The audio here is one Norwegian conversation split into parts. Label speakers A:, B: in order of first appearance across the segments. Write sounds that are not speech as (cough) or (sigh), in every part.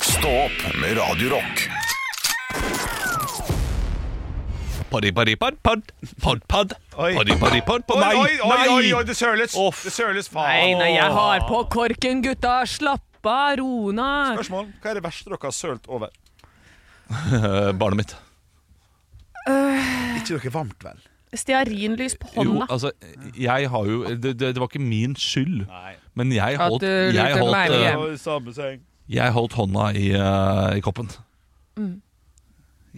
A: Stå opp med Radio Rock.
B: Paddi, paddi, padd, padd, padd, padd.
C: Oi.
B: Paddi, paddi, padd, padd.
C: Oi,
B: Nei,
C: oi, oi, oi, oi,
B: nei!
C: det søles!
B: Off.
C: Det søles,
D: Nei,
C: faen!
D: nei, jeg har på korken, gutta. Slapp av, ro ned.
C: Spørsmål. Hva er det verste dere har sølt over?
B: Eh, Barnet mitt.
E: Ikke noe varmt, vel?
D: Stearinlys på
B: Jo,
D: hånda.
B: altså, jeg har jo Det, det, det var ikke min skyld,
C: Nei.
B: men jeg
D: At
B: holdt,
D: du
B: jeg
D: lurte meg
B: holdt,
D: med
B: eh,
D: hjem.
C: i samme seng.
B: jeg holdt hånda i, eh, i koppen.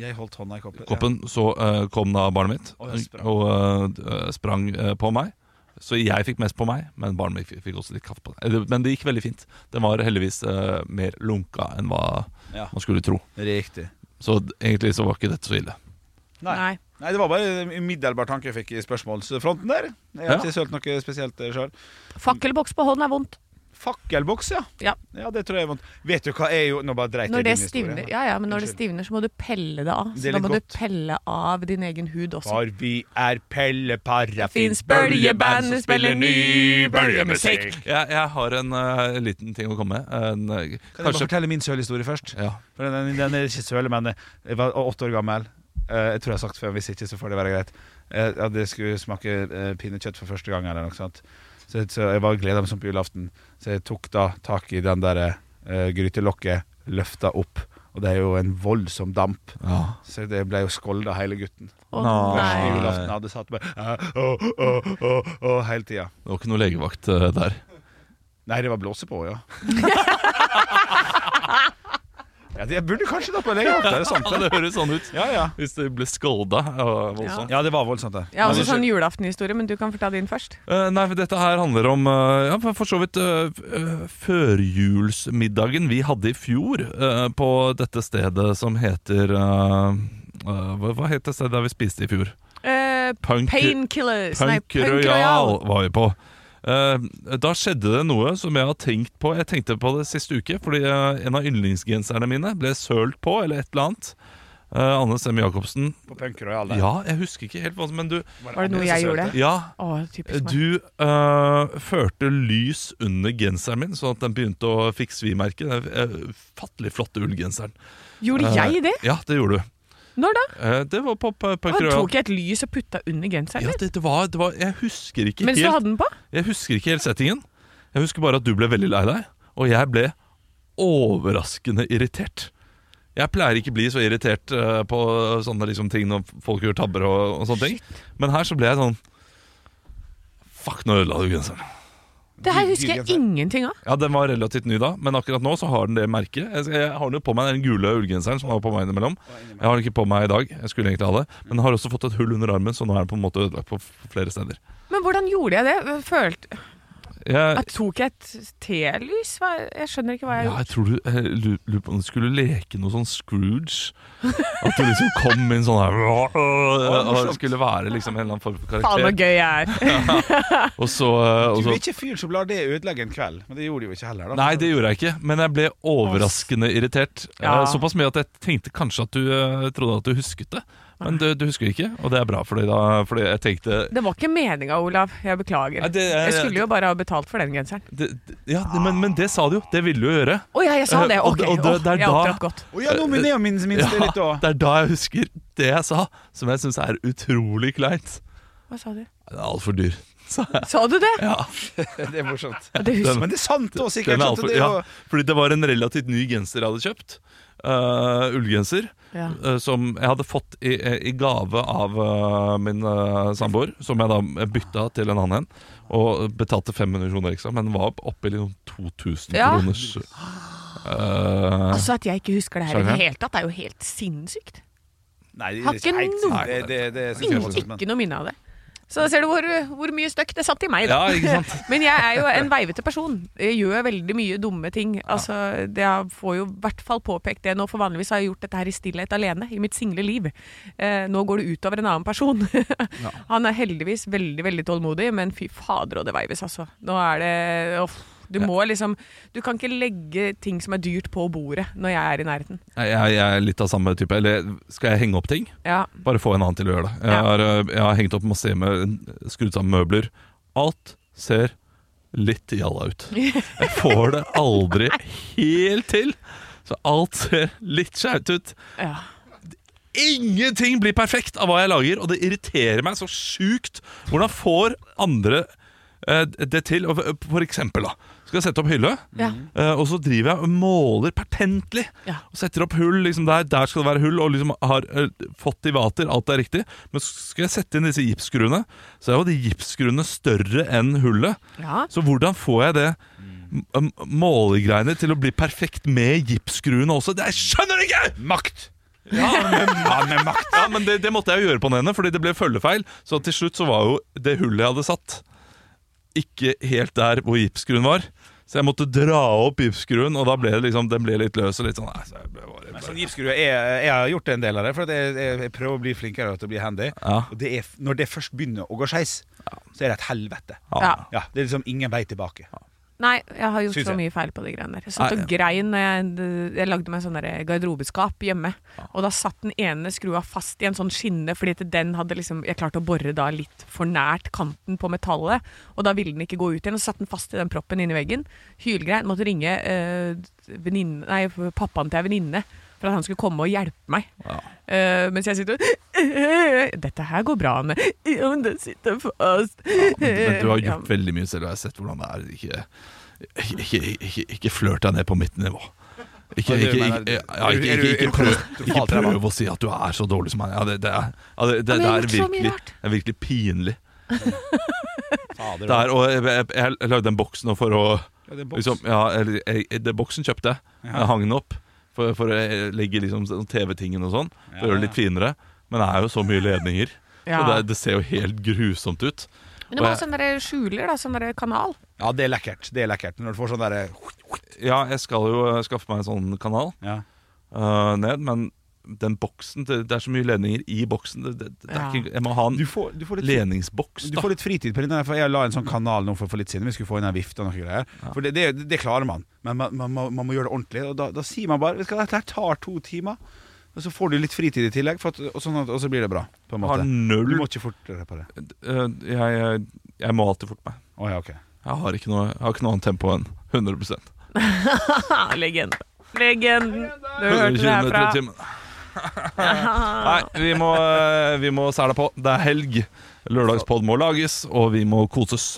C: Jeg holdt hånda i koppen.
B: koppen Så eh, kom da barnet mitt
C: Og jeg sprang.
B: og eh, sprang eh, på meg. Så jeg fikk mest på meg, men barnet mitt fikk- fikk også litt kaffe på seg. Eh, Men det gikk veldig fint. Den var heldigvis eh, mer lunka enn hva
C: Ja.
B: man skulle tro.
E: Riktig.
B: Så d- egentlig så var ikke dette så ille.
C: Nei.
D: Nei.
C: Nei, det var bare en umiddelbar tanke jeg fikk i spørsmålsfronten der. Jeg har
B: Ja.
C: ikke sølt noe spesielt sjøl.
D: Fakkelboks på hånden er vondt.
C: Fakkelboks, ja.
D: Ja.
C: det tror jeg er vondt. Vet du hva er jo Nå bare dreit jeg
D: Når det
C: din historie.
D: stivner, ja, ja, men når det stivner, så må du pelle det av.
C: Det er
D: Så da
C: litt
D: må du
C: godt.
D: pelle av din egen hud også.
C: For vi er Pelle Parafin
D: Fins bøljeband som spiller ny
C: bøljemusikk.
B: (laughs) Jeg, jeg har en eh, liten ting å komme med. En, eh,
C: Kan jeg bare
B: kanskje
C: fortelle min sølehistorie først?
B: ja.
C: For den, den er ikke søle, men eh, jeg var åtte år gammel. Eh, jeg tror jeg har sagt før, hvis ikke så får det være greit. Eh, ja, det skulle smake eh, pinnekjøtt for første gang. Eller noe sånt. Så, så jeg var gleda meg sånn på julaften, så jeg tok da tak i den der eh, grytelokket, løfta opp. Og det er jo en voldsom damp,
B: Ja.
C: så det ble jo skolda hele gutten.
D: Å,
B: Nei.
C: Første
D: nei.
C: julaften hadde satt meg eh, å, å, å, å, hele tida.
B: Det var ikke noe legevakt eh, (laughs) der.
C: Nei, det var blåse på, ja. ja det jeg burde kanskje da på legevakt, det er sant.
B: Ja, det høres sånn ut.
C: Ja, ja.
B: Hvis det ble skålda og voldsomt.
C: Ja, det var voldsomt, det.
D: Jeg har også
C: Men-
D: sånn julaftenhistorie, men du kan fortelle din først.
B: Eh, nei, for dette her handler om eh, ja, for for så vidt eh, f- eh, førjulsmiddagen vi hadde i fjor eh, på dette stedet som heter eh, eh, hva, hva het det stedet der vi spiste i fjor?
D: Eh,
B: Punk,
D: Painkillers. Nei,
B: Punk Royal var vi på. Eh, da skjedde det noe som jeg har tenkt på Jeg tenkte på det siste uke, fordi eh, en av yndlingsgenserne mine ble sølt på, eller et eller annet. Eh, Anne Semme Jacobsen.
C: På Punk Royal der.
B: Ja, jeg husker ikke helt hva som Men du
D: Var det noe jeg gjorde?
B: Ja,
D: Å, typisk meg.
B: du øh, førte lys under genseren min, sånn at den begynte å fikk svimerke. Den øh, fattelig flotte ullgenseren.
D: Gjorde jeg det?
B: Ja, det gjorde du.
D: Når da?
B: Eh, det var på på- på
D: Å, tok jeg et lys og putta under genseren?
B: Ja,
D: eller?
B: det, det, var, det var Jeg husker ikke
D: Mens du
B: helt
D: hadde den på?
B: Jeg husker ikke helt settingen. Jeg husker bare at du ble veldig lei deg, og jeg ble overraskende irritert. Jeg pleier ikke å bli så irritert eh, på sånne liksom ting når folk gjør tabber og, og sånne ting. Men her så ble jeg sånn Fuck, nå ødela du genseren.
D: Det her husker jeg ingenting av.
B: Ja, Den var relativt ny da, men akkurat nå så har den det merket. Jeg, jeg har den jo på meg den gule ullgenseren som var på meg innimellom. Jeg har den ikke på meg i dag, jeg skulle egentlig ha det. Men den har også fått et hull under armen, så nå er den på en måte ødelagt på f- flere steder.
D: Men hvordan gjorde jeg det?
B: (laughs)
D: Følte
B: Jeg,
D: at Tok jeg et telys? Hva- Jeg skjønner ikke hva jeg
B: ja,
D: gjorde.
B: jeg tror du jeg lu- lurer på om du skulle leke noe sånn Scrooge. At du liksom kom inn sånn her Og skulle være liksom en eller annen form for
D: Faen, så
B: karakter.
D: gøy jeg er. (laughs)
B: Og så, øh, og
C: Du
B: så
C: er ikke fyren som lar det ødelegge en kveld, men det gjorde de jo ikke heller. da
B: Nei, det gjorde jeg ikke, men jeg ble overraskende irritert.
D: Ja.
B: Eh, Såpass mye at jeg tenkte kanskje at du eh, trodde at du husket det. Men du, du husker ikke, og det er bra, fordi, da, fordi jeg tenkte
D: Det var ikke meninga, Olav. Jeg beklager.
B: Nei, det er-
D: jeg skulle jo bare ha betalt for den genseren.
B: det, det- Ja, det, men, men det sa du jo. Det ville du jo gjøre.
D: Å ja, jeg sa det.
B: Eh, og
D: Ok.
B: det- og det-
D: Åh,
B: det er
D: jeg
B: da-
D: opptrådte godt.
C: Å ja, nå minner jeg minst, minst det
B: (laughs)
C: litt òg.
B: det er da jeg husker det jeg sa, som jeg syns er utrolig kleint.
D: Hva sa du?
B: Det er altfor dyr. sa jeg.
D: Sa du det?
B: Ja,
C: Det er morsomt.
D: Ja, det husker
B: Den-
C: Men det er sant òg, sikkert.
B: den er
C: sant,
B: alt
C: og
B: for,
C: det er
B: ja,
C: jo-
B: fordi det var en relativt ny genser jeg hadde kjøpt. eh, ullgenser.
D: ja.
B: eh, som jeg hadde fått i, eh, i gave av eh, min eh, samboer, som jeg da eh, bytta til en annen en. Og betalte 500 kroner ekstra, men var oppe i noen 2000
D: Ja.
B: kroners eh,
D: Altså At jeg ikke husker det her i
B: Skjønner
D: det
B: jeg.
D: hele tatt, er jo helt sinnssykt.
C: Nei, det er
D: Har
C: ikke
D: ikke
C: helt
D: noe-
C: sant. Det, det, det er sikkert
D: Ingen,
C: voldsomt, men
D: ikke noe minne av det. Så da ser du hvor, hvor mye støkk det satt i meg.
B: Ja,
D: Da.
B: ikke sant?
D: (laughs) Men jeg er jo en veivete person. Jeg gjør veldig mye dumme ting. Altså, det jeg får jo i hvert fall påpekt det nå, for vanligvis har jeg gjort dette her i stillhet alene i mitt single liv. Eh, nå går det utover en annen person. (laughs) Han er heldigvis veldig veldig tålmodig, men fy fader og det veives, altså. Nå er det uff, Du må liksom Du kan ikke legge ting som er dyrt, på bordet når jeg er i nærheten.
B: Nei, Jeg, jeg er litt av samme type. Eller skal jeg henge opp ting?
D: Ja.
B: Bare få en annen til å gjøre det. Jeg
D: Ja.
B: har, eh, jeg har hengt opp masse hjemme, skrudd sammen møbler. Alt ser litt jalla ut. Jeg får det aldri helt til. Så alt ser litt skjevt ut.
D: Ja.
B: Ingenting blir perfekt av hva jeg lager, og det irriterer meg så sjukt. Hvordan får andre eh, det til? Og For for eksempel, da. Skal jeg sette opp hylle,
D: Ja.
B: eh, og så driver jeg og måler pertentlig.
D: Ja.
B: Og setter opp hull liksom der, der skal det være hull, og liksom har eh, fått i vater, alt er riktig. Men så skal jeg sette inn disse gipsskruene, så er jo de gipsskruene større enn hullet.
D: ja.
B: Så hvordan får jeg det m- målegreiene til å bli perfekt med gipsskruene også? Det jeg skjønner det ikke! Ah!
C: Makt!
B: Ja, men,
C: Ja, med makt.
B: ja, men det, det måtte jeg jo gjøre på den ene, fordi det ble følgefeil. Så til slutt så var jo det hullet jeg hadde satt, ikke helt der hvor gipsskruen var. Så jeg måtte dra opp gipsskruen, og da ble det liksom, den ble litt løs. og litt sånn, nei, så jeg ble bare,
C: Men
B: bare.
C: Sånn gipsskrue, jeg, jeg har gjort en del av det, for at jeg, jeg, jeg prøver å bli flinkere til å bli handy.
B: Ja.
C: Og det er, når det først begynner å gå skeis, så er det et helvete.
B: Ah.
D: Ja.
C: Ja, Det er liksom ingen vei tilbake.
D: Nei, jeg har gjort
C: Synes
D: så
C: jeg.
D: mye feil på de greiene der. Jeg satt
B: Nei.
D: og grein når jeg, jeg lagde meg sånn der garderobeskap hjemme. Og da satt den ene skrua fast i en sånn skinne, fordi at den hadde liksom Jeg klarte å bore da litt for nært kanten på metallet, og da ville den ikke gå ut igjen. Og så satt den fast i den proppen inni veggen. Hylgrein. Måtte ringe eh, venninne Nei, pappaen til ei venninne for at han skulle komme og hjelpe meg. Eh, mens jeg sitter og (laughs) Dette her går bra, Anne. (laughs) Ja, men den sitter fast.
B: Men, men du har
D: (laughs) Ja.
B: gjort veldig mye selv, og jeg har sett hvordan det er. Ikke, ikke, ikke, ikke flørt deg ned på mitt nivå. Ikke,
C: Ja, du
B: ikke, ikke,
C: mener-
B: ja,
C: er du-
B: ikke,
C: er du-
B: ikke,
C: er du
B: ikke, prøv, ikke
C: katastrofalt ræva?
B: prøv å si at du er så dårlig som han. Ja, det, det, er, ja, det, det,
D: men jeg
B: det,
D: har
B: er
D: gjort så mye
B: virkelig,
D: rart.
B: det er virkelig pinlig.
C: Fader,
B: Det er, og jeg, jeg, jeg lagde en boks nå for å
C: ja, det er boks.
B: liksom, ja, eller, jeg, det, Boksen kjøpte jeg. Jeg hang den opp for, for å eh, legge liksom, sånn TV-tingen og sånn. For å gjøre det litt finere. Men det er jo så mye ledninger.
D: Ja.
B: Og det, det ser jo helt grusomt ut.
D: Men det var sånn der skjuler, da. Sånn der kanal. (laughs)
C: ja, det er lekkert. Det er lekkert Når du får sånn derre
B: Ja, jeg skal jo eh, skaffe meg en sånn kanal.
C: ja.
B: øh, ned, men den boksen det, det er så mye ledninger i boksen. Det, det, det
D: Ja.
B: er ikke, jeg må ha en
C: du, får- du får litt
B: leningsboks,
C: Du
B: da.
C: får litt fritid på den der, for jeg la en sånn kanal nå for, for litt siden. Vi skulle få inn en vifte og noen greier. For det, det, det klarer man, men man, man, må- man må gjøre det ordentlig. Og da, da sier man bare Vet du hva, dette her tar to timer. Og så får du litt fritid i tillegg, for at, og, sånn at, og så blir det bra. På en
B: Har
C: måte. Du
B: null
C: må ikke fortere på det.
B: øh, jeg, jeg må alltid forte meg.
C: Å ja, ok.
B: Jeg har ikke noe, jeg har ikke noe annet tempo enn 100
D: Ha, legenden. Legenden. Ah, Du hørte
B: 100 km
D: det
B: i
D: herfra.
B: timen. Nei, vi må, øh, vi må sæle på. Det er helg. Lørdagspod må lages, og vi må koses.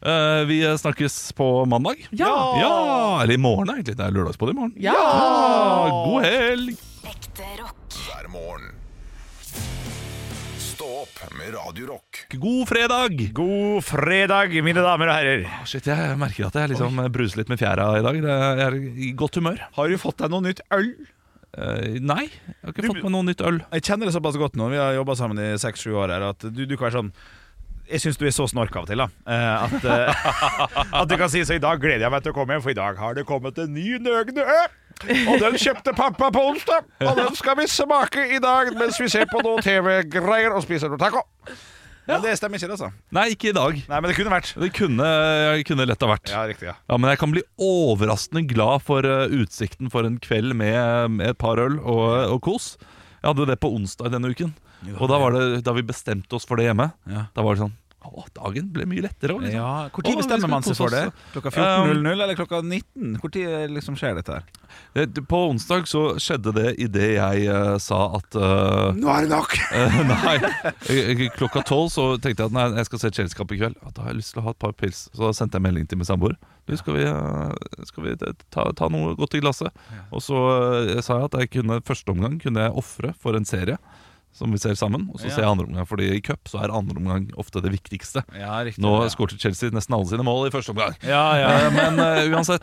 B: Eh, vi snakkes på mandag.
D: Ja!
B: Ja, Eller i morgen, egentlig. Det er lørdagspod i morgen.
D: Ja!
B: God helg!
E: Ekte rock.
A: hver morgen. Stå opp med Radio Rock.
B: God fredag!
C: God fredag, mine damer og herrer.
B: Å, Ah, Shit, jeg merker at jeg liksom bruser litt med fjæra i dag. Det- Jeg er i godt humør.
C: Har du fått deg noe nytt øl?
B: Eh, nei, jeg har ikke
C: Du-
B: fått meg noe nytt øl.
C: Jeg kjenner det såpass godt nå, vi har jobba sammen i seks-sju år her, at du, du kan være sånn jeg syns du er så snork av og til, da. eh, At, eh, (laughs) at du kan si så i dag gleder jeg meg til å komme hjem, for i dag har det kommet en ny nøgne ø. Og den kjøpte pappa på onsdag, og den skal vi smake i dag mens vi ser på noe TV-greier og spiser noe taco. Men det stemmer ikke, det, altså.
B: Nei, ikke i dag.
C: Nei, men det kunne vært.
B: Det kunne, jeg kunne lett ha vært.
C: Ja, riktig, ja.
B: Ja, Men jeg kan bli overraskende glad for eh, utsikten for en kveld med, med et par øl og, og kos. Jeg hadde det på onsdag denne uken. Og da, var det, da vi bestemte oss for det hjemme,
C: Ja.
B: da var det sånn Å, dagen ble mye lettere. også, Liksom.
C: Hvor
B: tid bestemmer man seg for det? Um,
C: Klokka
B: 14.00
C: eller klokka 19? Hvor tid liksom skjer dette her?
B: Eh, På onsdag så skjedde det idet jeg eh, sa at eh,
C: Nå er det nok!
B: Eh, nei, Eh, eh, klokka tolv så tenkte jeg at nei, jeg skal se Kjeldskap i kveld. Ja, Da har jeg lyst til å ha et par pils. Så da sendte jeg melding til min samboer. Du, skal vi, eh, skal vi ta, ta noe godt i glasset? Og så eh, sa jeg at jeg kunne, første omgang kunne jeg ofre for en serie som vi ser sammen. Og så
C: Ja.
B: ser jeg andre omgang, fordi i cup så er andre omgang ofte det viktigste.
C: Ja, riktig.
B: Nå skåret Chelsea nesten alle sine mål i første omgang.
C: Ja, ja.
B: Eh, Men eh,
C: (laughs)
B: uansett,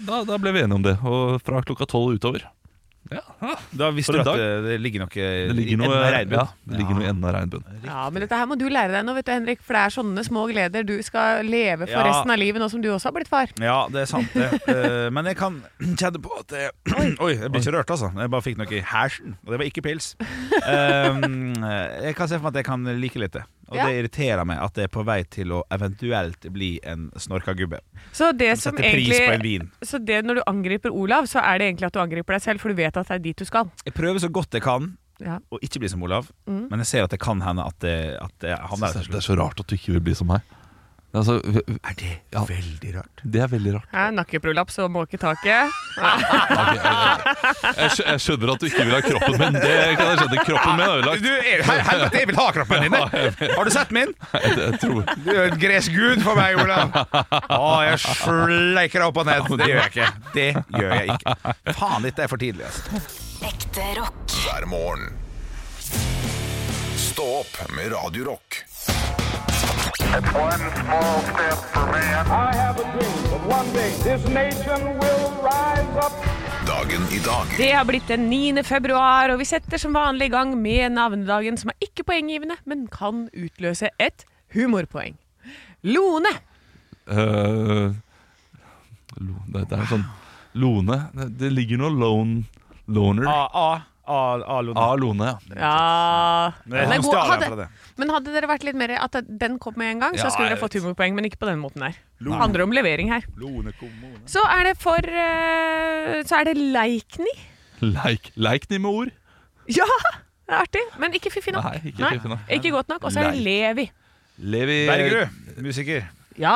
B: da, da ble vi enige om det. Og fra klokka tolv utover. Ja, ja.
C: Da visste
B: For
C: du
B: en
C: at
B: dag.
C: eh, det ligger noe
B: Det ligger noe,
C: i
B: ja, det ligger noe i enden av regnbuen.
D: (laughs) Ja, men dette her må du lære deg nå, vet du, Henrik. For det er sånne små gleder du skal leve for
C: Ja.
D: resten av livet nå som du også har blitt far.
C: Ja, det er sant det. Eh, men jeg kan (clears throat) kjenne på at jeg (clears throat) Oi, jeg blir ikke rørt, altså. Jeg bare fikk noe i hæsjen, og det var ikke pils. Um, jeg kan se for meg at jeg kan like litt det. Og
D: Ja.
C: det irriterer meg at det er på vei til å eventuelt bli en snorka gubbe.
D: Så det som
C: Sette pris på en
D: egentlig
C: vin.
D: Så det når du angriper Olav, så er det egentlig at du angriper deg selv, for du vet at det er dit du skal.
C: Jeg prøver så godt jeg kan
D: Ja.
C: å ikke bli
D: Mm.
C: som Olav, men jeg ser at det kan hende at, det, at jeg havner
B: Synes jeg
C: der til
B: Det er så
C: slutt.
B: rart at du ikke vil bli som meg. Altså,
C: Er det
B: Ja.
C: veldig rart?
B: det er veldig rart.
E: Ja, nakkeprolaps og måketaket.
B: Jeg, skjø- jeg skjønner at du ikke vil ha kroppen min. Det kan jeg skjønne. Kroppen min er ødelagt.
C: Du, er- hel- helvete, jeg vil ha kroppen din! Har du sett min?
B: Jeg, jeg tror
C: Du er en gresk gud for meg, Olav. Å, jeg sleiker deg opp og ned. Det gjør jeg ikke. Det gjør jeg ikke. Faen, dette er for tidlig, altså.
F: Ekte rock.
A: hver morgen. Stå opp med Radio Rock.
G: One small step for man. I have a dream that one day this nation will rise up.
A: Dagen i dag
D: Det har blitt den 9. februar, og vi setter som vanlig i gang med navnedagen, som er ikke poenggivende, men kan utløse et humorpoeng. Lone.
B: Eh, lo, det, det er sånn Lone Det, det ligger noe lone, loner
C: A, A, A, A, Lone.
B: av Lone, ja.
D: Ja
C: Det er
D: Den er god.
C: Australia fra
D: Hadde,
C: det.
D: men hadde dere vært litt mer at den kom med en gang, så
B: Ja,
D: skulle
B: jeg
D: dere fått
B: vet.
D: humorpoeng, men ikke på den måten her. Det handler om levering her.
C: Lone Kommune.
D: Så er det for eh, Så er det Leikny. (laughs)
B: Leik, leikni med ord.
D: Ja! Det er artig, men ikke fiffig nok.
B: Nei, ikke fiffig nok.
D: ikke godt nok. Og så er det Levi.
B: Levi
C: Bergerud, musiker.
D: Ja,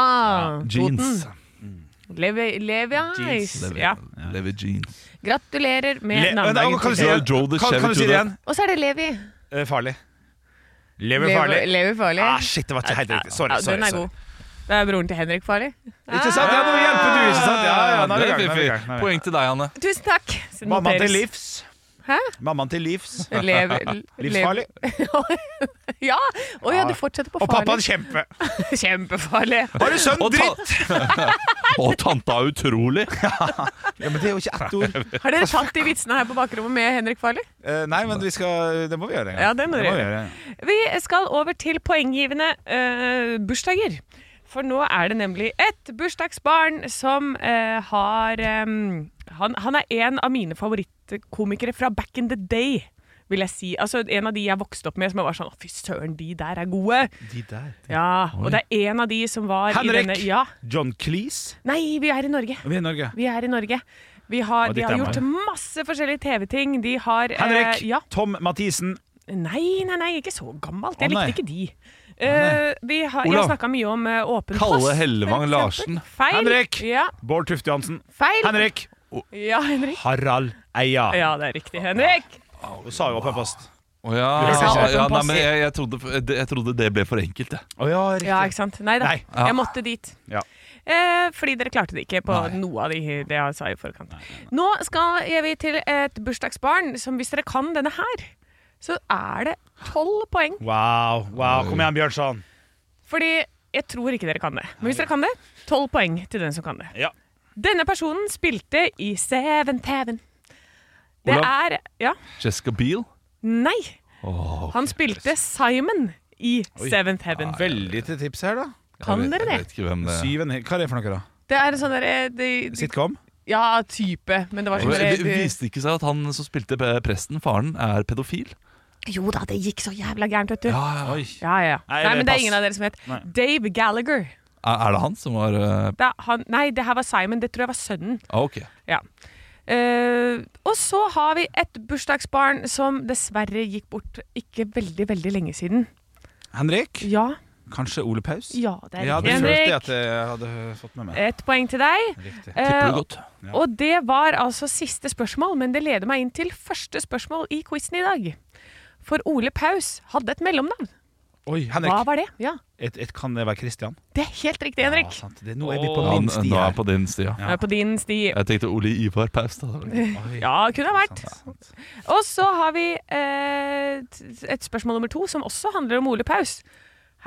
B: Jeans.
D: Toten. Mm. Levi, Levi's.
B: Levi,
D: Ja.
B: Levi jeans.
D: Gratulerer
C: Le-
D: med
C: Nei, Kan du
D: navnedagen.
C: si det igjen?
B: Joe the
C: Kan- kan
B: Chevy
C: du si
B: to
C: det
B: the-
C: igjen?
D: Og så er det Levi.
C: Eh, Farlig. Lever
D: Levi,
C: farlig.
D: Levi Farlig.
C: Ah, shit, det var ikke helt riktig. Sorry.
D: ja,
C: sorry,
D: den er
C: sorry.
D: god. Det er broren til Henrik Ah. Farlig.
C: Ikke sant? Ja, nå hjelper du, ikke sant? Ja, ja, nå er
B: Det er
C: vi i gang. nå er vi i gang, nå er vi i gang.
B: Poeng til deg, Anne.
D: Tusen takk. Så
C: Mammaen til
D: noteres.
C: livs.
D: Hæ?
C: Mammaen til livs. (laughs)
D: Lev,
C: Livsfarlig.
D: Ja! Å
C: Ja.
D: ja, du fortsetter på
C: Og pappaen
D: farlig.
C: kjempe.
D: (laughs) Kjempefarlig.
C: Har (laughs) du sønn
B: Og ta-
C: dritt?
B: (laughs) Og tanta er utrolig!
C: Ja, men det er jo ikke ett ord.
D: Har dere tatt de vitsene her på bakrommet med Henrik Farli?
C: Eh, nei, men vi skal, det må vi gjøre en gang.
D: Ja, det må vi
C: vi
D: gjøre. Vi skal over til poenggivende eh, bursdager. For nå er det nemlig et bursdagsbarn som eh, har em, han, han er en av mine favorittkomikere fra back in the day, vil jeg si. Altså en av de jeg vokste opp med som jeg var sånn Å, fy søren, de der er gode.
C: De der.
D: Ja, Og det er en av de som var i
C: Henrik!
D: denne Ja.
C: John Cleese.
D: Nei, vi er i Norge.
C: Vi er i Norge.
D: Vi er i Norge. Vi har,
C: Og
D: de
C: ditt
D: har
C: er
D: gjort masse forskjellige TV-ting. De har eh,
C: Henrik!
D: ja.
C: Tom Mathisen.
D: Nei, nei, nei, ikke så gammelt. Jeg
C: Å, nei.
D: likte ikke de. Eh, vi har, jeg har
B: Olav.
D: snakka mye om eh, åpen
B: Kalle
D: post. for
B: Hellevang
D: eksempel.
B: Larsen.
D: Feil.
C: Henrik!
D: Ja,
C: Bård Tufte Johansen.
D: feil.
C: Henrik.
D: Ja, Henrik.
C: Harald Eia.
D: Ja, det er riktig. Henrik!
C: Hun sa jo åpen post.
B: Å ja.
C: Du sa
B: ja,
D: åpen
B: nei,
D: post.
B: men jeg, jeg, trodde, det- jeg trodde det ble for enkelt, jeg.
C: Å ja, riktig.
D: Ja, ikke sant. Nei da.
C: Nei.
B: Ja.
D: Jeg måtte dit.
C: Ja.
D: Eh, fordi dere klarte det ikke på
B: Nei.
D: noe av de, det jeg sa i forkant. Nå skal jeg- vi til et bursdagsbarn som, hvis dere kan denne her, så er det tolv poeng.
C: Wow, wow. Kom igjen, Bjørnson.
D: Fordi jeg tror ikke dere kan det. Men hvis dere kan det, tolv poeng til den som kan det.
C: Ja.
D: Denne personen spilte i Seven Teven. Det
B: Olav?
D: er Ja.
B: Jessica Biel.
D: Nei.
B: Åh,
D: Han spilte Simon i Seventh Heaven.
C: Veldig til tips her, da.
D: Kan
B: jeg vet-
D: dere det?
B: Jeg vet ikke hvem det er.
C: Syven, hva er det for noe, da?
D: Det er en sånn derre de- de-
C: Sitcom?
D: Ja, type. Men det var sånn
B: Men
D: derre
B: vi-
D: de-
B: Viste det ikke seg at han som spilte pe- presten, faren, er pedofil?
D: Jo da, det gikk så jævla gærent, vet du. Ja,
C: Oi.
D: ja. ja.
C: Nei,
D: Nei,
C: det
D: men det er
C: pass.
D: ingen av dere som het
C: Nei.
D: Dave Gallagher.
B: Er er det han som var eh,
D: Det er han, nei, det her var Simon. Det tror jeg var sønnen.
B: ah, Ok.
D: Ja. Eh, og så har vi et bursdagsbarn som dessverre gikk bort ikke veldig, veldig lenge siden.
C: Henrik?
D: Ja,
C: Kanskje Ole Paus?
D: ja, det er
C: Jeg hadde
D: riktig.
C: følt det
D: Henrik,
C: at jeg hadde fått med meg.
D: et poeng til deg.
C: Riktig.
B: Tipper
D: Eh,
B: du godt.
D: og det var altså siste spørsmål, men det leder meg inn til første spørsmål i quizen i dag. For Ole Paus hadde et mellomnavn.
C: Oi,
D: Hva
C: Henrik.
D: var det? Ja,
C: Et, et, kan det være Christian?
D: Det er helt riktig, Henrik.
C: Ja, sant. Det, nå er vi på
B: Ja,
C: min
B: nå
C: sti
B: er jeg
C: her.
B: på din sti, ja.
D: Det er På din sti.
B: Jeg tenkte Ole Ivar Paus.
D: (laughs)
B: da.
C: Oi.
D: Ja, kunne ha vært.
C: Sant, sant.
D: Og så har vi eh, t- et spørsmål nummer to, som også handler om Ole Paus.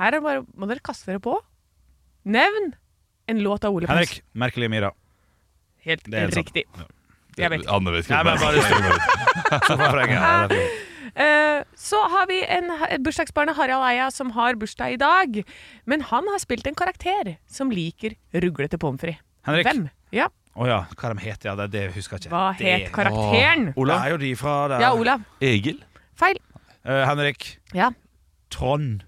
D: Her er det bare, må dere kaste dere på. Nevn en låt av Ole Paus.
C: Henrik. Merkelig Mira.
D: Helt
C: Det er helt sant.
D: riktig. Jeg vet ikke.
B: Anne vet ikke.
C: Nei,
B: hvem
C: men
B: det er.
C: bare stå (laughs) Så får jeg frenge. Ja, det er fint.
D: Eh, Så har vi en et bursdagsbarnet Harald Eia som har bursdag i dag. Men han har spilt en karakter som liker ruglete pommes frites.
C: Henrik.
D: Hvem? Ja,
C: Å ja, hva de heter, ja, det, det husker jeg ikke.
D: hva
C: Det-
D: het karakteren?
C: Olav? Det er jo de fra der.
D: Ja, Olav.
B: Egil?
D: Feil.
C: Eh, Henrik.
D: Ja.
C: Trond.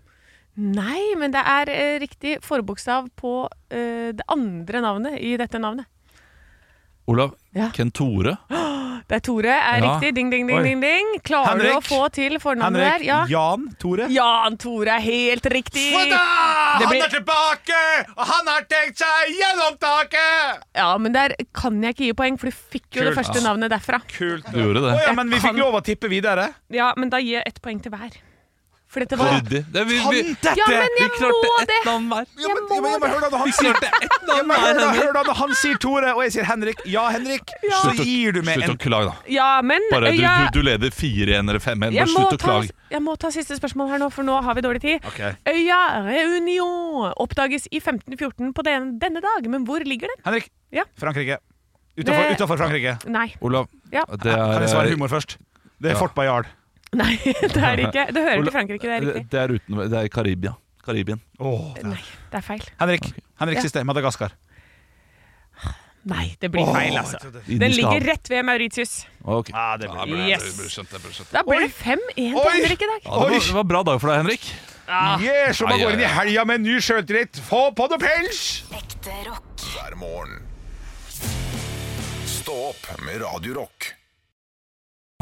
D: Nei, men det er eh, riktig forbokstav på eh, det andre navnet i dette navnet.
B: Olav?
D: Ja.
B: Ken Tore?
D: Det er Tore. Er
B: Ja.
D: riktig. Ding, ding,
C: Oi.
D: ding, ding, ding. Klarer du å
C: Henrik.
D: få til fornavnet der?
C: Henrik
D: Ja.
C: Jan Tore.
D: Jan Tore er helt riktig! Det blir-
C: tilbake, og han har tenkt seg gjennom taket!
D: Ja, men der kan jeg ikke gi poeng, for du fikk jo det
C: Kult.
D: første
B: Ah.
D: navnet derfra.
C: Kult.
B: Du gjorde det.
C: Å ja, men vi fikk lov å tippe videre.
D: Ja, men da gir jeg ett poeng til hver. For dette var
B: Ryddig. Det, vi, vi,
C: Fandette!
D: Ja, men
B: vi
D: jeg
B: klarte
D: må
B: ett
D: det!
B: navn hver.
C: Ja, men, ja, men, ja, men hør da når han sier
B: Klarte ett
C: ja,
B: navn
C: men, hør,
B: hver,
C: da,
B: Henrik.
C: hør da når han sier Tore, og jeg sier Henrik. Ja, Henrik. Så
B: Slutt å-
C: gir du meg
B: Slutt
C: en
B: å klage, da.
D: Ja, men
B: Bare, du,
D: ja,
B: du, du leder 4-1 eller 5-1.
D: jeg,
B: Bare
D: må
B: slutt å
D: ta,
B: klage.
D: jeg må ta siste spørsmål her nå, for nå har vi dårlig tid.
C: Ok.
D: Øya Reunion oppdages i 1514 på den, denne dag, men hvor ligger den?
C: Henrik.
D: Ja.
C: Frankrike. Utenfor,
D: Det-
C: utenfor Frankrike.
D: Nei.
B: Olav,
D: Ja.
B: det
C: Kan
B: er eh,
C: jeg svare humor først? Det er
B: Ja.
C: Fort Bayard.
D: Nei, (laughs) det er det ikke. Det hører
B: Ola-
D: til Frankrike, det er riktig.
B: Det er, uten, det er Karibia. Karibien.
C: Åh, det er-
D: Nei,
B: eh.
D: det er feil.
C: Henrik. Henrik
D: Ja.
C: siste. Madagaskar.
D: Nei, det blir feil, altså. Den ligger rett ved Mauritius.
B: Ok.
C: Ah, det blir...
D: Yes. Da
C: Oi.
D: blir det 5-1 til
C: Oi.
D: Henrik i dag.
B: Ja, det, var,
C: Oi.
B: det var bra dag for deg, Henrik.
C: Yeah, så man
B: Ai,
C: går inn
B: ai,
C: i helga med en ny sjøltillit. Få på noe pels!
F: Ekte rock.
A: hver morgen. Stå opp med Radio Rock.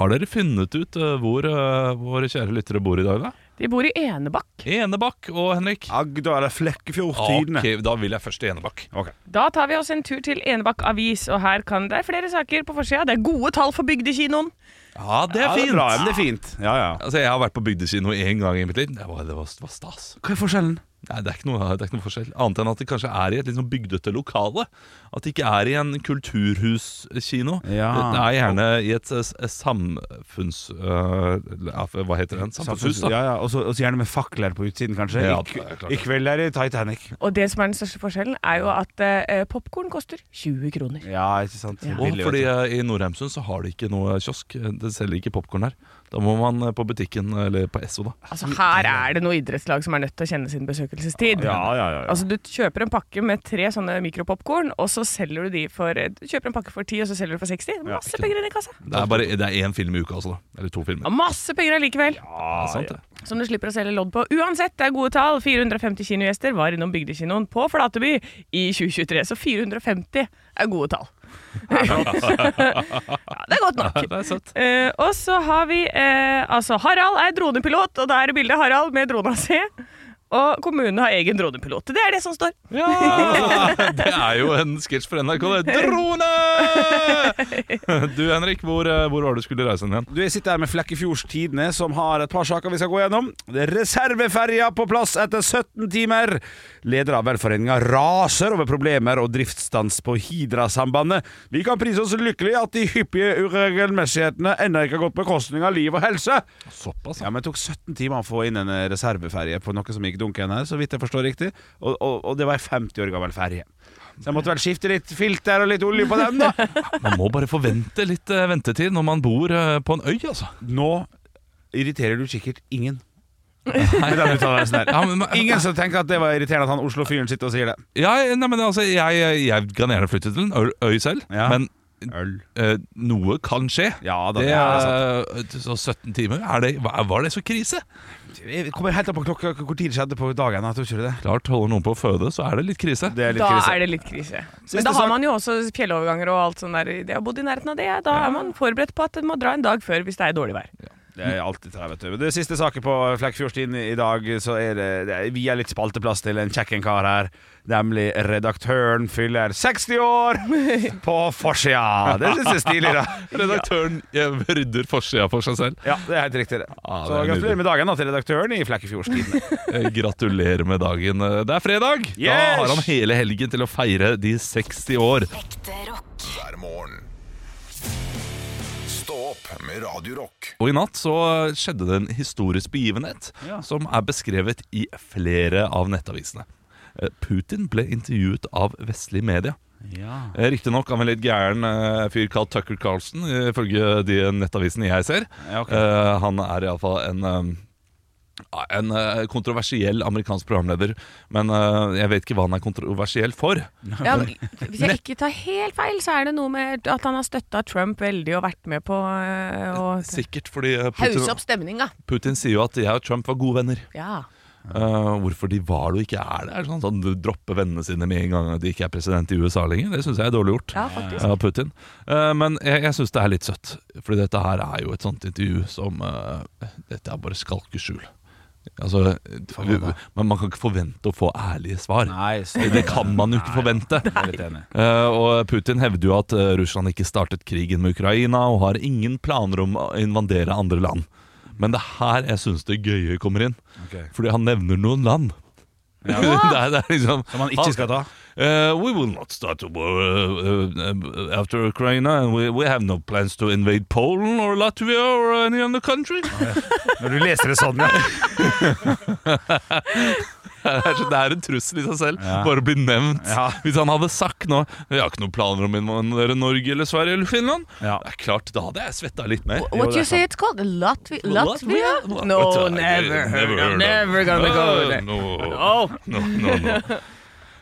B: Har dere funnet ut eh, hvor eh, våre kjære lyttere bor i dag, da?
D: De bor i Enebakk.
B: Enebakk og Henrik.
C: Agda eller Flekkefjord Tidende.
B: Ok, da vil jeg først til Enebakk.
D: Da tar vi oss en tur til Enebakk Avis, og her kan det er flere saker på forsida. Det er gode tall for bygdekinoen.
B: Ja, det
C: Ja, det er bra, men det er fint. Ja, ja.
B: Altså, jeg har vært på bygdekino én gang i mitt liv. Det var, det var, det var stas.
C: Hva er forskjellen?
B: Nei, det er, ikke noe, det er ikke noe forskjell. Annet enn at det kanskje er i et litt sånn bygdete lokale. At det ikke er i en kulturhuskino.
C: Ja.
B: Det er gjerne i et, eh, s- s- samfunns... øh, ja, hva heter den? Samfunnshus, da.
C: Ja, ja. Og så og så gjerne med fakler på utsiden, kanskje.
B: Ja,
C: I,
B: det er klart.
C: I kveld er det Titanic.
D: Og det som er den største forskjellen, er jo at eh, popkorn koster 20 kroner.
C: Ja, ikke sant?
D: Ja.
B: Og
C: Billig,
B: fordi
C: vet du.
B: eh, i Nordheimsund så har de ikke noe kiosk. Det selger ikke popkorn der. Da må man eh, på butikken, eller på Esso, da.
D: Altså, her er det noe idrettslag som er nødt til å kjenne sin besøkelsestid.
C: ja, ja, ja, ja.
D: Altså, du kjøper en pakke med tre sånne mikropopkorn, og så selger du de for eh, Du kjøper en pakke for 10, og så selger du for 60. Masse penger inn i kassa.
B: Det er bare det er én film i uka, altså. da Eller to
D: Ja,
B: filmer.
D: masse penger allikevel.
B: det er sant, det.
D: Som du slipper å selge lodd på. Uansett, det er gode tall. 450 kinogjester var innom Bygdekinoen på Flateby i 2023, så 450 er gode
C: (laughs)
D: tall. (laughs) ja, det er godt nok.
B: Det er søtt.
D: Eh, og så har vi eh, altså Harald er dronepilot, og da er det bildet Harald med drona si. Og kommunen har egen dronepilot. Det er det som står.
B: (laughs) det er jo en sketsj for NRK, det. Drone! (laughs) Du, Henrik, hvor, eh, hvor var det du skulle reise den igjen?
C: Du, Jeg sitter her med Flekkefjords Tidende, som har et par saker vi skal gå gjennom. Det er Reserveferja på plass etter 17 timer. Leder av velforeninga raser over problemer og driftsstans på Hidra-sambandet. Vi kan prise oss lykkelige at de hyppige uregelmessighetene ennå ikke har gått på bekostning av liv og helse.
B: Såpass,
C: Ja, men Det tok 17 timer å få inn en eh, reserveferje på noe som gikk dunken her, så vidt jeg forstår riktig. Og, og, og det var ei 50 år gammel ferje. Så jeg måtte vel skifte litt filter og litt olje på den, da.
B: Man må bare forvente litt eh, ventetid når man bor eh, på en øy, altså.
C: Nå irriterer du sikkert (laughs) ingen. Med den uttalelsen der.
B: Ja, men,
C: Ingen som tenker at det var irriterende at han Oslo-fyren sitter og sier det.
B: ja, nei, men altså, jeg, jeg kan gjerne flytte til en ø- øy selv,
C: Ja.
B: men
C: Øl.
B: eh, noe kan skje.
C: Ja da,
B: det,
C: det er
B: er så 17 timer, er det, hva- var det så krise?
C: Det kommer helt an på klokka hvor tid det skjedde på dagen. Jeg tror ikke det.
B: Klart, holder noen på å føde, så er det litt krise.
C: Det er litt
D: Da
C: krise.
D: er det litt krise.
C: Siste
D: Men da har
C: sak.
D: man jo også fjelloverganger og alt sånt der. Jeg har bodd i nærheten av det. Da er man forberedt på at man må dra en dag før hvis det er dårlig vær.
C: Det er alltid det, vet du. Men Det siste saken på Flekkefjordstien i dag, så er det, det er, vi er litt spalteplass til en kjekken kar her. Nemlig redaktøren fyller 60 år på forsida. Det syns jeg er stilig, da.
B: Redaktøren eh, rydder forsida for seg selv.
C: Ja, det er helt riktig, det.
B: Ja, det
C: så
B: er nydelig.
C: gratulerer med dagen da til redaktøren i (laughs) Flekkefjordstien.
B: Eh, Gratulerer med dagen. Eh, Det er fredag! Da
C: Yes!
B: har han hele helgen til å feire de 60 år.
F: Ekte rock.
A: hver morgen. Stå opp med Radio Rock.
B: Og i natt så skjedde det en historisk begivenhet
C: Ja.
B: som er beskrevet i flere av nettavisene. Eh, Putin ble intervjuet av vestlige media.
C: Ja.
B: Eh, Riktignok av en litt gæren eh, fyr kalt Tucker Carlson, eh, ifølge de nettavisene jeg ser.
C: Ja, ok.
B: Eh, Han er iallfall en eh, ja, en eh, kontroversiell amerikansk programleder, men eh, jeg vet ikke hva han er kontroversiell for.
D: Ja, hvis jeg ikke tar helt feil, så er det noe med at han har støtta Trump veldig og vært med på eh, å
B: Sikkert fordi eh,
D: hause
B: Putin,
D: opp stemninga.
B: Putin sier jo at jeg og Trump var gode venner.
D: Ja.
B: Eh, hvorfor de var det og ikke er det. Er det sånn, sånn, du dropper vennene sine med en gang at de ikke er president i USA lenger. Det syns jeg er dårlig gjort
D: Ja, faktisk.
B: av Putin. Eh, men jeg, jeg syns det er litt søtt. Fordi dette her er jo et sånt intervju som eh, Dette er bare skalkeskjul. Altså, vi, men man kan ikke forvente å få ærlige svar.
C: Nei, så-
B: Det kan man jo ikke
C: (laughs)
B: forvente.
C: Jeg er litt enig.
B: Eh, og Putin hevder jo at eh, Russland ikke startet krigen med Ukraina og har ingen planer om å invadere andre land. Men det er her jeg syns det gøye kommer inn.
C: Ok.
B: Fordi han nevner noen land. (laughs) det er, det er liksom,
C: Som han ikke skal ta.
B: Eh, we will not start a war uh, uh, after Ukraine, and we, we have no plans to invade Poland or Latvia or any other country.
C: Når du leser det sånn, ja.
B: (laughs) Det er, så- det er en trussel i seg selv,
C: Ja.
B: bare å bli nevnt.
C: Ja.
B: Hvis han hadde sagt nå Vi har ikke noen planer om å invadere Norge eller Sverige eller Finland.
C: Ja.
B: Det er klart, Da hadde jeg svetta litt mer.
C: Jo, det
D: What
C: er
D: you say it's called? Latvi Latvia?
B: Latvia?
E: No,
B: But, uh,
E: never heard of-
B: of-
E: never gonna go there.
B: No,
E: Oh.
B: no, no, no.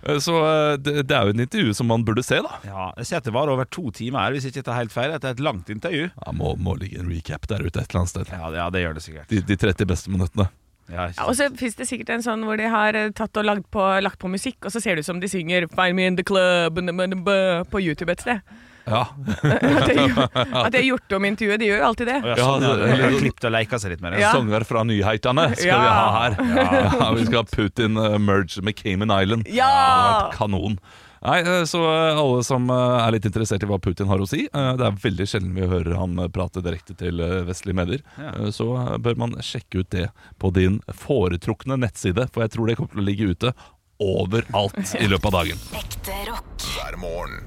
B: Eh, Så eh, det, det er jo et intervju som man burde se, da.
C: ja. Jeg ser at det var over to timer her, hvis jeg ikke tar helt feil. Dette er et langt intervju.
B: Ja, må, må ligge en recap der ute et eller annet sted.
C: Ja, ja det gjør det sikkert.
B: De, de 30 beste minuttene.
C: Ja, ikke
E: Ja, og
C: sant.
E: så fins det sikkert en sånn hvor de har eh, tatt og lagd på, lagt på musikk, og så ser det ut som de synger 'Find me in the club' and the- and the bu- på YouTube et sted. (laughs)
B: Ja,
E: At de, at de har gjort om intervjuet. De gjør jo alltid det.
C: Å, ja, sånn, ja.
B: Ja,
C: Jeg har
B: litt-
C: klippet og leika seg litt med det.
E: Ja.
B: Sanger fra nyhetene skal vi
E: Ja.
B: ha her. Ja. vi skal ha Putin eh, merge med Cayman Island.
E: Ja!
B: Det hadde vært Kanon. Nei, eh, så eh, alle som eh, er litt interessert i hva Putin har å si eh, Det er veldig sjelden vi hører han eh, prate direkte til eh, vestlige medier. Eh, Så eh, bør man sjekke ut det på din foretrukne nettside, for jeg tror det kommer til å ligge ute overalt i løpet av dagen.
F: Ekte rock.
A: hver morgen.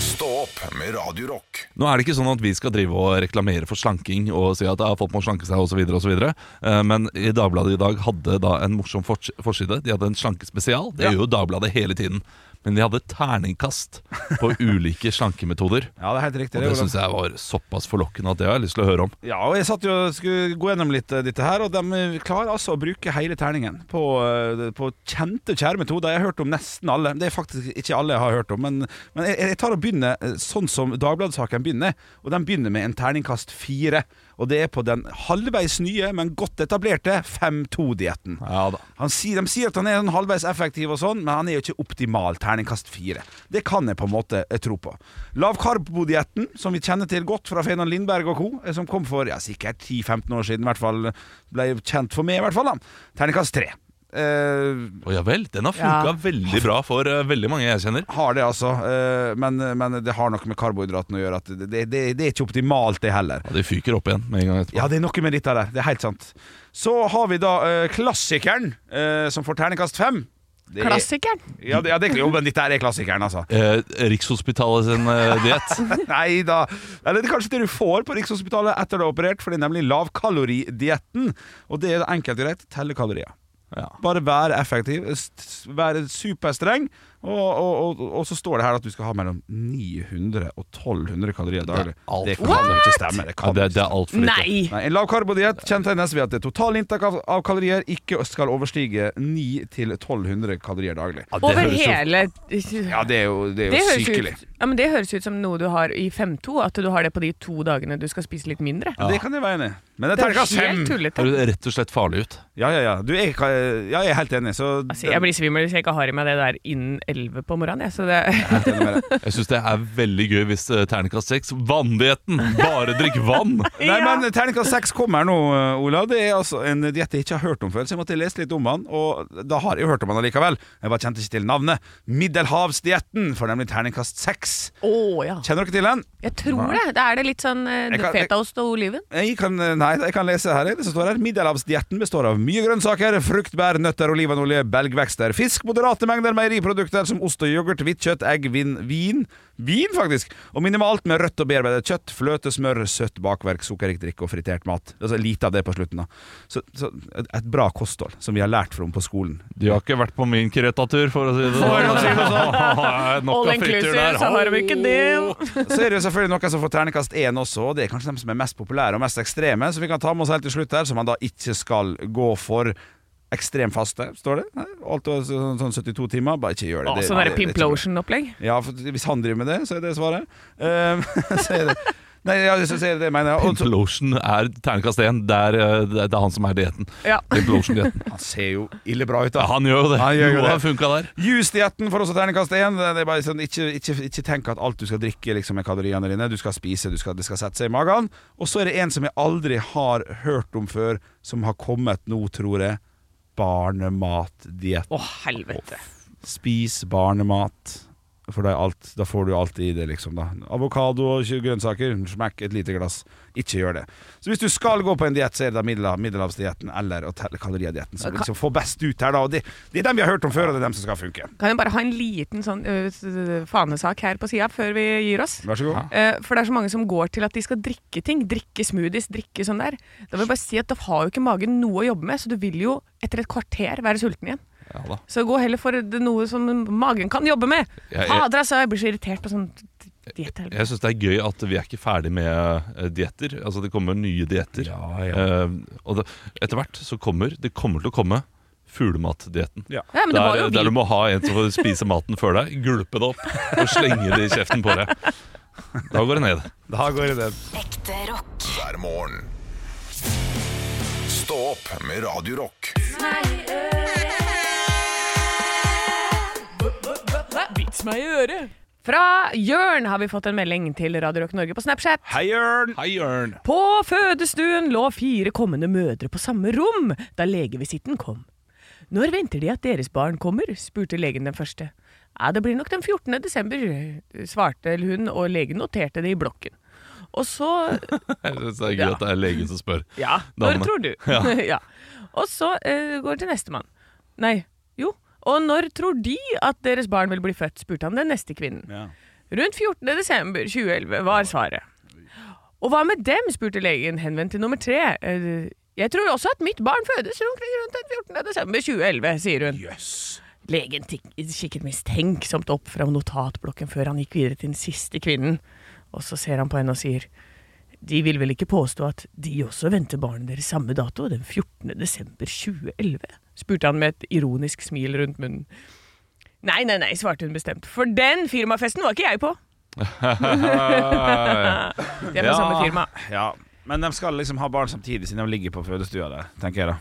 A: Stå opp med Radio Rock.
B: Nå er det ikke sånn at vi skal drive og reklamere for slanking og si at ja, folk må slanke seg osv. Eh, Men i Dagbladet i dag hadde da en morsom fors- forside. De hadde en slankespesial. Det gjør jo Dagbladet hele tiden. Men de hadde terningkast på ulike slankemetoder.
C: Ja, det er helt riktig.
B: Og
C: det,
B: det
C: Olav.
B: syns jeg var såpass forlokkende at det har jeg lyst til å høre om.
C: Ja, og jeg satt jo og skulle gå gjennom litt eh, dette her, og de eh, klarer altså å bruke hele terningen på, eh, på kjente, kjære metoder. Jeg har hørt om nesten alle. Det er faktisk ikke alle jeg har hørt om, men, men jeg, jeg tar og begynner eh, sånn som Dagbladet-saken begynner, og den begynner med en terningkast fire. Og det er på den halvveis nye, men godt etablerte 5-2-dietten.
B: Ja da.
C: Han sier, de sier at han er sånn halvveis effektiv, og sånn men han er jo ikke optimal terningkast fire. Det kan jeg på en måte eh, tro på. Lavkarbodietten, som vi kjenner til godt fra Fenan Lindberg og co., eh, som kom for ja, sikkert 10-15 år siden, i hvert fall ble kjent for meg, i hvert fall. da Terningkast tre. Eh,
B: Å ja vel. Den har funka
D: Ja.
B: veldig bra for eh, veldig mange jeg kjenner.
C: har det, altså. Eh, men, men det har noe med karbohydratene å gjøre. At det, det, det, det er ikke optimalt, det heller.
B: Ja, de fyker opp igjen med en gang etterpå.
C: Ja, det er noe med dette der. Det er helt sant. Så har vi da eh, klassikeren, eh, som får terningkast fem. Det er-
D: Klassikeren.
C: Ja, det, ja, det, jo, men dette her er klassikeren, altså.
B: Eh, Rikshospitalet sin eh, diett.
C: (laughs) Nei da. Eller det er kanskje det du får på Rikshospitalet etter du har operert, for det er nemlig lavkaloridietten. Og det er det enkelt og greit. Telle kalorier.
B: Ja.
C: Bare være effektiv, s- være superstreng, og, og, og, og så står det her at du skal ha mellom 900 og 1200 kalorier daglig.
B: alt
C: Det
B: for
C: kan jo ikke stemme. Det
B: Ja,
C: kan
B: det,
C: ikke
B: det er altfor lite.
E: Nei!
C: Nei, En lavkarbodiett kjennetegnes ved at det totale inntak av, av kalorier ikke skal overstige 900-1200 kalorier daglig.
B: Ja, det
E: Over
B: høres jo-
E: hele
C: Ja, det er jo, det
E: Det
C: er jo
E: høres,
C: sykelig.
E: ut, ja, men det høres ut som noe du har i 5-2, at du har det på de to dagene du skal spise litt mindre.
C: Det kan jeg være enig i. Men det
E: Det
C: er
E: er
C: terningkast fem.
E: helt tullete.
B: Høres rett og slett farlig ut.
C: Ja, ja, ja. Du, jeg, kan- ja, jeg er helt enig. Så
E: Altså, jeg blir svimmel hvis jeg ikke har i meg det der innen 11 på morgenen. Jeg, så det, (laughs)
C: helt enig med deg.
B: Jeg syns det er veldig gøy hvis eh, terningkast seks Vanndietten! Bare drikk vann!
C: Nei, men Terningkast seks kommer nå, eh, Olav. Det er altså en diett jeg ikke har hørt om før. Så jeg måtte lese litt om han, og da har jeg jo hørt om han allikevel. Jeg bare kjente ikke til navnet. Middelhavsdietten får nemlig terningkast seks.
D: Å ja.
C: Kjenner dere til den?
D: Jeg tror det. Da er det litt sånn eh,
C: Jeg kan- jeg-
D: fetaost og oliven.
C: Jeg kan, eh, nei, jeg kan lese her. Det som står her Middelhavsdietten består av mye grønnsaker, frukt, bær, nøtter, olivenolje, belgvekster, fisk, moderate mengder meieriprodukter som ost og yoghurt, hvitt kjøtt, egg, vin, vin Vin, faktisk! Og minimalt med rødt og bearbeidet kjøtt, fløte, smør, søtt bakverk, sukkerrik drikke og fritert mat. Altså Lite av det på slutten, da. Så, så et et bra kosthold, som vi har lært fra om på skolen.
B: De har ikke vært på min kretatur, for å si det (laughs) sånn.
E: all inclusive, så har de ikke det.
C: Så er det jo selvfølgelig noen som får terningkast én også, og det er kanskje de som er mest populære og mest ekstreme, som vi kan ta med oss helt til slutt her, som man da ikke skal gå for. Ekstrem faste, står det. Nei, Alt over sånn sånn 72 timer, bare ikke gjør det. det
E: Sånn
C: det- det er ikke bra.
E: Pimplotion-opplegg.
C: Ja, for hvis han driver med det, (laughs) så er det svaret. Eh, så er det Nei, ja, så sier jeg det mener jeg. Og så-
B: Implosion er ternekast én. Det, er, eh, det er han som er dieten.
E: Ja.
C: (laughs)
B: Implosion-dieten.
C: han ser jo ille bra ut,
B: Ja,
C: da.
B: han gjør jo det.
C: Han gjør jo
B: Noe
C: det.
B: har funka der.
C: Jusdietten får også terningkast én. Det er bare sånn, ikke, ikke, ikke tenk at alt du skal drikke, liksom, er kaloriene dine. Du skal spise, du skal, det skal sette seg i magen. Og så er det en som jeg aldri har hørt om før, som har kommet nå, tror jeg. Barnematdiett.
E: Å, helvete.
C: Spis barnemat. For da, er alt, da får du alt i det, liksom. da Avokado og tjue grønnsaker. Smekk et lite glass. Ikke gjør det. Så hvis du skal gå på en diett, så er det da middel- middelhavsdietten eller å telle kalorier-dietten. Som liksom får best ut her, da. Og det, det er dem vi har hørt om før, og det er dem som skal funke.
D: Kan jeg bare ha en liten sånn ø, s- s- fanesak her på sida før vi gir oss?
C: Vær så god.
D: Eh, For det er så mange som går til at de skal drikke ting. Drikke smoothies, drikke sånn der. Da vil jeg bare si at da har jo ikke magen noe å jobbe med, så du vil jo etter et kvarter være sulten igjen.
B: Ja da.
D: Så gå heller for det- noe som magen kan jobbe med.
B: Jeg- jeg-
D: Fader, altså, jeg blir så irritert på sånn diett.
B: Jeg syns det er gøy at vi er ikke ferdig med eh, dietter. Altså, det kommer nye dietter.
C: Ja, ja.
B: Eh, og det, etter hvert så kommer Det kommer til å komme fuglematdietten.
C: Ja.
D: Ja, men det var
B: der,
D: jo
B: der du
D: vi.
B: må ha en som får spise maten før deg, gulpe det opp og slenge det i kjeften på deg. Da går det ned.
C: Da går det den.
F: Ekte rock.
A: hver morgen. Stå opp med Radio Rock.
D: Vits meg i øret! Fra Jørn har vi fått en melding til Radio Rock Norge på Snapchat.
C: Hei, Jørn!
B: Hei, Jørn.
D: På fødestuen lå fire kommende mødre på samme rom da legevisitten kom. Når venter de at deres barn kommer? spurte legen den første. Ja, det blir nok den 14. desember, svarte hun, og legen noterte det i blokken. Og så
B: Jeg synes det er gøy
D: Ja.
B: at det er legen som spør.
D: Ja,
B: Damene.
D: når tror du? (laughs) Ja. Og så eh, går det til nestemann. Nei, jo. Og når tror de at deres barn vil bli født? spurte han den neste kvinnen.
C: Ja.
D: Rundt 14. desember 2011 var svaret. Og hva med dem, spurte legen, henvendt til nummer tre. Eh, Jeg tror også at mitt barn fødes omkring rundt den 14. desember 2011, sier hun. Legen tikk- kikket mistenksomt opp fra notatblokken før han gikk videre til den siste kvinnen. Og så ser han på henne og sier, de vil vel ikke påstå at de også venter barnet deres samme dato, den 14. desember 2011? spurte han med et ironisk smil rundt munnen. Nei, nei, nei, svarte hun bestemt, for den firmafesten var ikke jeg på. Det er på samme firma.
C: Ja. Men de skal liksom ha barn samtidig, siden de ligger på fødestua der, tenker jeg da.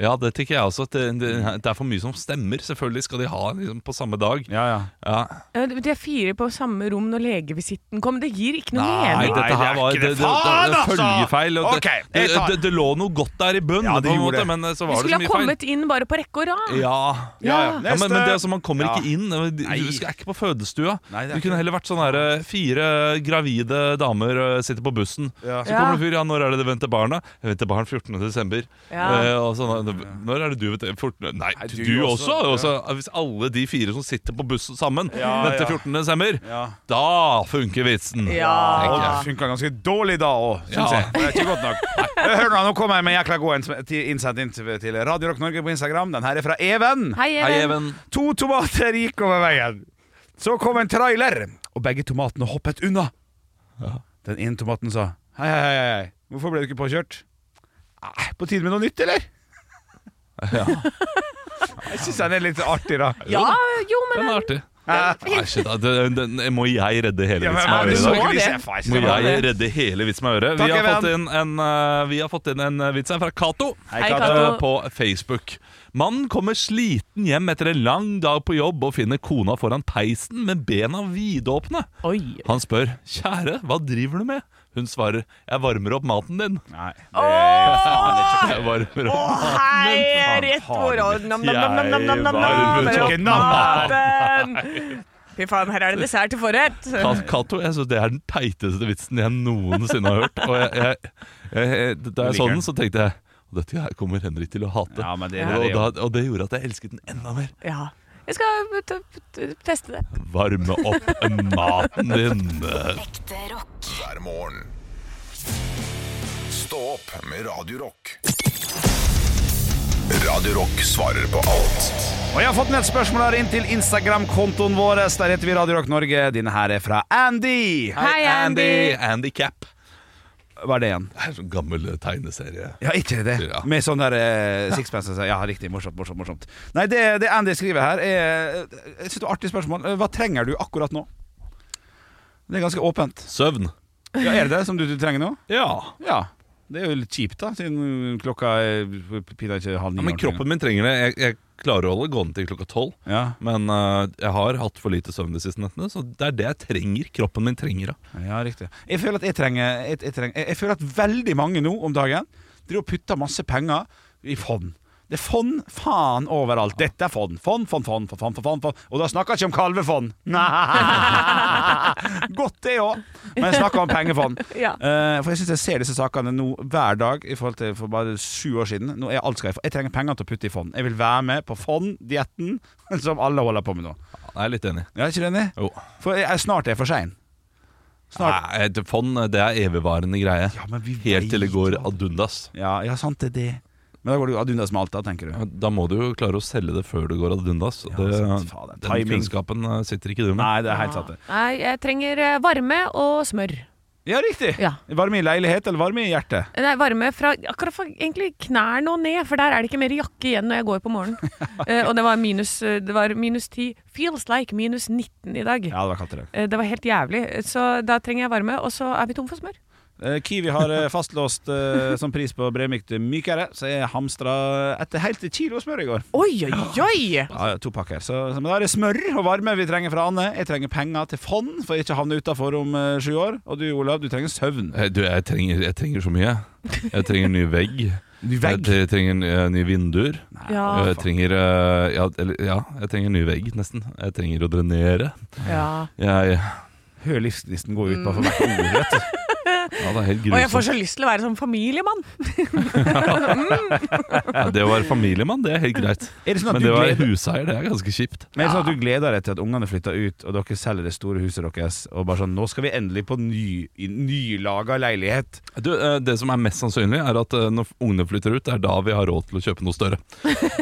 B: Ja, det tenker jeg også. At det, det, det er for mye som stemmer. Selvfølgelig skal de ha liksom, på samme dag.
C: Ja, ja.
B: Ja.
D: Ja, det- De er fire på samme rom når legevisitten kom, det gir ikke noe
B: Nei,
D: mening.
C: det
B: dette
C: er
B: her
C: ikke
B: var
C: det.
B: det, det, det,
C: Faen,
B: det,
C: altså!
B: følgefeil. Og
C: Ok,
B: det,
C: jeg
B: det,
C: tar-
B: det, det lå noe godt der i bunnen,
C: Ja, det
B: på en
C: gjorde
B: måte,
C: det.
B: men eh, så
D: Vi
B: var det så
D: skulle ha
B: mye feil.
D: kommet inn bare på rekke og rad.
B: Ja,
D: Ja.
B: Ja, men, men det er som Man kommer
C: Ja.
B: ikke inn. Du,
C: Nei.
B: du skal ikke på fødestua.
C: Nei, det er
B: du kunne
C: ikke-
B: heller vært sånn her eh, Fire gravide damer eh, sitter på bussen.
C: Ja.
B: Så kommer det en fyr. Ja, 'Når er det det venter barna?' 'Jeg venter barn 14. desember'.
D: Ja.
B: Eh, og sånn, eh, 'Når er det du venter 14. Nei,
C: Nei,
B: du,
C: du også.
B: også?' Og så, eh, hvis alle de fire som sitter på bussen sammen,
C: Ja,
B: venter
C: ja.
B: 14. desember,
C: Ja.
B: da funker vitsen.
C: Og
D: Ja.
C: det funka ganske dårlig da òg, syns
B: Ja.
C: jeg. Det er ikke godt
B: (laughs)
C: nok. Hør nå, nå kommer jeg med en jækla god en som er til- innsendt inn til til Radio Rock Norge på Instagram. Den her er fra Even.
D: Hei, Even.
B: Hei, Even.
C: To tomater gikk over veien. Så kom en trailer, og begge tomatene hoppet unna. Den ene tomaten sa Hei, hei, hei, hei. hvorfor ble du ikke påkjørt? «Nei, På tide med noe
B: (laughs)
C: nytt, eller? jeg syns den er litt artig, da.
D: Ja, jo, men
B: Den er artig.
C: Ja,
B: Nei, shit, da, den, den, må jeg redde hele
C: men,
B: vitsen? her i dag?
C: du må
D: må
C: ikke
D: det.
C: vise- faen,
B: Må
C: jeg synes det.
B: jeg redde hele vitsen med øret?
C: Takk,
B: Vi har,
C: Even.
B: fått inn en, eh, vi har fått inn en eh, vits her fra Cato
C: Hei,
D: Hei,
C: Kato.
D: Kato.
B: eh, på Facebook. Mannen kommer sliten hjem etter en lang dag på jobb og finner kona foran peisen med bena vidåpne.
D: Oi.
B: Han spør 'Kjære, hva driver du med?' Hun svarer 'Jeg varmer opp maten din'.
C: Nei, det er faen ikke
B: Jeg varmer opp
E: Hei,
C: faen,
E: rett
C: har
E: ord.
C: du
E: Nam-nam-nam-nam-nam.
B: varmer
C: Ikke
B: opp
C: navn.
E: Fy faen, her er det dessert til forrett.
B: Ka- Cato, jeg synes det er den teiteste vitsen jeg noensinne har hørt. Og jeg, jeg, jeg, jeg, da jeg så
C: Liker den.
B: den, så tenkte jeg og dette her kommer Henrik til å hate.
C: Ja, men det her er
B: og,
C: jo-
B: da, og det gjorde at jeg elsket den enda mer.
D: Ja. Jeg skal t- t- teste det.
B: Varme opp maten din.
F: Ekte rock.
A: hver morgen. Stå opp med Radio Rock. Radio Rock svarer på alt
C: Og jeg har fått med et spørsmål her inn til Instagram-kontoen vår. Der heter vi Radio Rock Norge. Denne her er fra Andy.
D: Hei, Andy.
B: Andy Cap.
C: Hva er det igjen?
B: Det er sånn gammel tegneserie.
C: Ja, ikke det.
B: Ja.
C: Med sånn der eh, sixpence. Ja, riktig. Morsomt, morsomt. morsomt Nei, det, det Andy skriver her, er eh, jeg synes det er et artig spørsmål. Hva trenger du akkurat nå? Det er ganske åpent.
B: Søvn.
C: Ja, er det det som du, du trenger nå?
B: Ja.
C: Ja. Det er jo litt kjipt, da, siden klokka er pinadø ikke halv ni.
B: ja men kroppen min trenger det. Jeg, jeg klarer å holde gående til klokka tolv.
C: ja.
B: Men eh, jeg har hatt for lite søvn de siste nettene, så det er det jeg trenger. Kroppen min trenger det.
C: ja, riktig. Jeg føler at jeg trenger Jeg, jeg, trenger, jeg, jeg føler at veldig mange nå om dagen driver og putter masse penger i fond. Det er fond faen overalt. Dette er fond. Fond, fond, fond. fond, fond, fond, fond. Og da snakker jeg ikke om kalvefond. Nei. Godt det òg, men jeg snakker om pengefond.
D: Ja.
C: Eh, for jeg syns jeg ser disse sakene nå hver dag i forhold til for bare sju år siden. Nå er alt skal jeg, få. jeg trenger penger til å putte i fond. Jeg vil være med på fonddietten (laughs) som alle holder på med nå.
B: Jeg er litt enig.
C: Jeg er ikke du enig?
B: Jo.
C: For jeg, jeg, snart er jeg for sein. Snart.
B: Nei, et fond det er evigvarende greie.
C: Ja, men vi
B: Helt til det
C: vet
B: går
C: jo.
B: ad undas.
C: Ja, ja, sant det er det. Men da går du ad undas med alt, da, tenker du.
B: Da må du jo klare å selge det før det går ad undas.
C: Ja,
B: det,
C: sant, faen, det er
B: den
C: timing.
B: kunnskapen eh, sitter ikke du med.
C: Nei, det er helt sant. det.
D: Nei, jeg trenger eh, varme og smør.
C: Ja, riktig!
D: Ja.
C: Varme i leilighet eller varme i hjertet?
D: Nei, varme fra akkurat fra egentlig knærne og ned, for der er det ikke mer jakke igjen når jeg går på
C: (laughs)
D: morgenen. Eh, og det var minus, eh, det var minus 10. Feels like minus 19 i dag.
C: Ja, det var kaldt i dag.
D: Eh, Det var helt jævlig. Så da trenger jeg varme, og så er vi tom for smør.
C: Eh, Kiwi har eh, fastlåst eh, som pris på Bremyk til mykere, så jeg hamstra et helt kilo smør i går.
D: Oi, oi, oi!
C: Ja, ja, to pakker. Så, så, men da er det smør og varme vi trenger fra Anne. Jeg trenger penger til fond for ikke å havne utafor om eh, sju år. Og du, Olav, du trenger søvn.
B: Eh, Du, jeg trenger, jeg trenger så mye. Jeg trenger ny
D: (laughs)
B: vegg.
C: vegg?
B: Jeg tre- trenger eh, nye vinduer.
D: Ja.
B: jeg trenger eh, ja, eller, ja, jeg trenger ny vegg, nesten. Jeg trenger å drenere.
D: Ja.
B: Jeg,
C: Hør livslisten gå ut på for hvert ord, vet du.
B: ja, det er helt
D: Og jeg får
B: grusomt.
D: så lyst til å være sånn familiemann.
B: Ja, det å være familiemann, det er helt greit.
D: (laughs)
C: Er det sånn at
B: Men
C: du
B: det å være
C: gleder
B: huseier, det er ganske kjipt.
C: Men er det sånn at du gleder deg til at ungene flytter ut, og dere selger det store huset deres, og bare sånn 'Nå skal vi endelig på ny, i nylaga leilighet'.
B: Du, eh, det som er mest sannsynlig, er at eh, når ungene flytter ut, det er da vi har råd til å kjøpe noe
D: (laughs)
B: større.